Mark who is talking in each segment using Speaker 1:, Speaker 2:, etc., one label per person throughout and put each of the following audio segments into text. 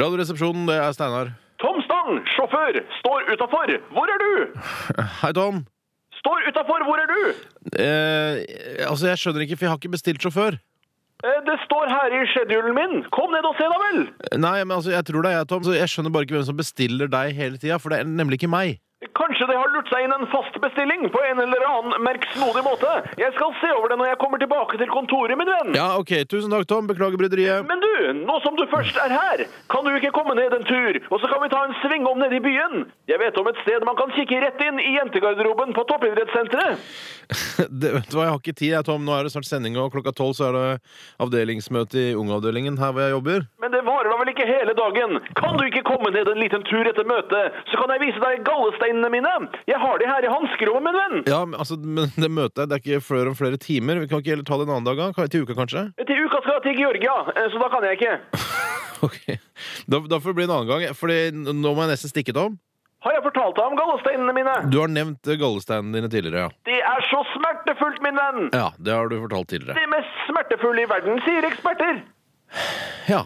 Speaker 1: Radioresepsjonen, det er Steinar.
Speaker 2: Tom Stang, sjåfør, står utafor. Hvor er du?
Speaker 1: Hei, Tom.
Speaker 2: Står utafor, hvor er du?
Speaker 1: Eh, altså, jeg skjønner ikke, for jeg har ikke bestilt sjåfør.
Speaker 2: Eh, Det står her i schedulen min. Kom ned og se, da vel.
Speaker 1: Nei, men altså, jeg tror det er jeg, Tom. Så jeg skjønner bare ikke hvem som bestiller deg hele tida, for det er nemlig ikke meg.
Speaker 2: Kanskje det har lurt seg inn en fast bestilling på en eller annen merksnodig måte. Jeg skal se over det når jeg kommer tilbake til kontoret, min venn.
Speaker 1: Ja, ok, tusen takk, Tom. Beklager bryderiet.
Speaker 2: Men du, nå som du først er her, kan du ikke komme ned en tur, og så kan vi ta en sving om nede i byen? Jeg vet om et sted man kan kikke rett inn i jentegarderoben på toppidrettssenteret.
Speaker 1: Det, vet du hva, jeg har ikke tid, jeg, Tom. Nå er det snart sending, og klokka tolv så er det avdelingsmøte i Ungavdelingen her hvor jeg jobber.
Speaker 2: Men det varer da vel ikke hele dagen? Kan du ikke komme ned en liten tur etter møtet, så kan jeg vise deg gallesteinene mine? Jeg har de her i hanskerommet, min venn.
Speaker 1: Ja, men, altså, men det møtet her, det er ikke før om flere timer. Vi kan ikke heller ta det en annen dag, da? Kan- til uka, kanskje?
Speaker 2: Til uka skal jeg til Georgia, eh, så da kan jeg ikke.
Speaker 1: Ok, da, da får det bli en annen gang, for nå må jeg nesten stikke, Tom.
Speaker 2: Har jeg fortalt deg om gallesteinene mine?
Speaker 1: Du har nevnt eh, gallesteinene dine tidligere, ja.
Speaker 2: Det er så smertefullt, min venn!
Speaker 1: Ja, det har du fortalt tidligere.
Speaker 2: Det mest smertefulle i verden, sier eksperter.
Speaker 1: Ja.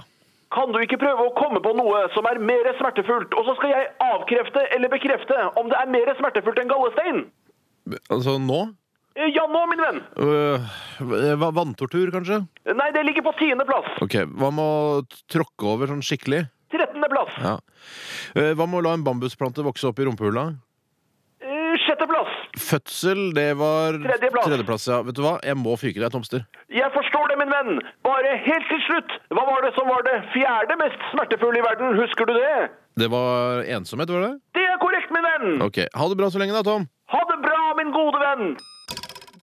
Speaker 2: Kan du ikke prøve å komme på noe som er mer smertefullt, og så skal jeg avkrefte eller bekrefte om det er mer smertefullt enn gallestein?
Speaker 1: Altså nå?
Speaker 2: Eh, Ja nå, min venn.
Speaker 1: Øh, hva- vanntortur, kanskje?
Speaker 2: Nei, det ligger på tiende plass.
Speaker 1: Ok, Hva med å tråkke over sånn skikkelig?
Speaker 2: Trettende plass.
Speaker 1: Ja. Øh, hva med å la en bambusplante vokse opp i rumpehula?
Speaker 2: Eh, Sjette plass.
Speaker 1: Fødsel, det var
Speaker 2: Tredjeplass.
Speaker 1: tredjeplass ja. Vet du hva? Jeg må fyke deg, Tomster.
Speaker 2: Jeg forstår det, min venn. Bare helt til slutt. Hva var det som var det fjerde mest smertefulle i verden? Husker du det?
Speaker 1: Det var ensomhet, var det? Mm.
Speaker 2: Det er korrekt, min venn.
Speaker 1: Ok, Ha det bra så lenge, da, Tom.
Speaker 2: Ha det bra, min gode venn.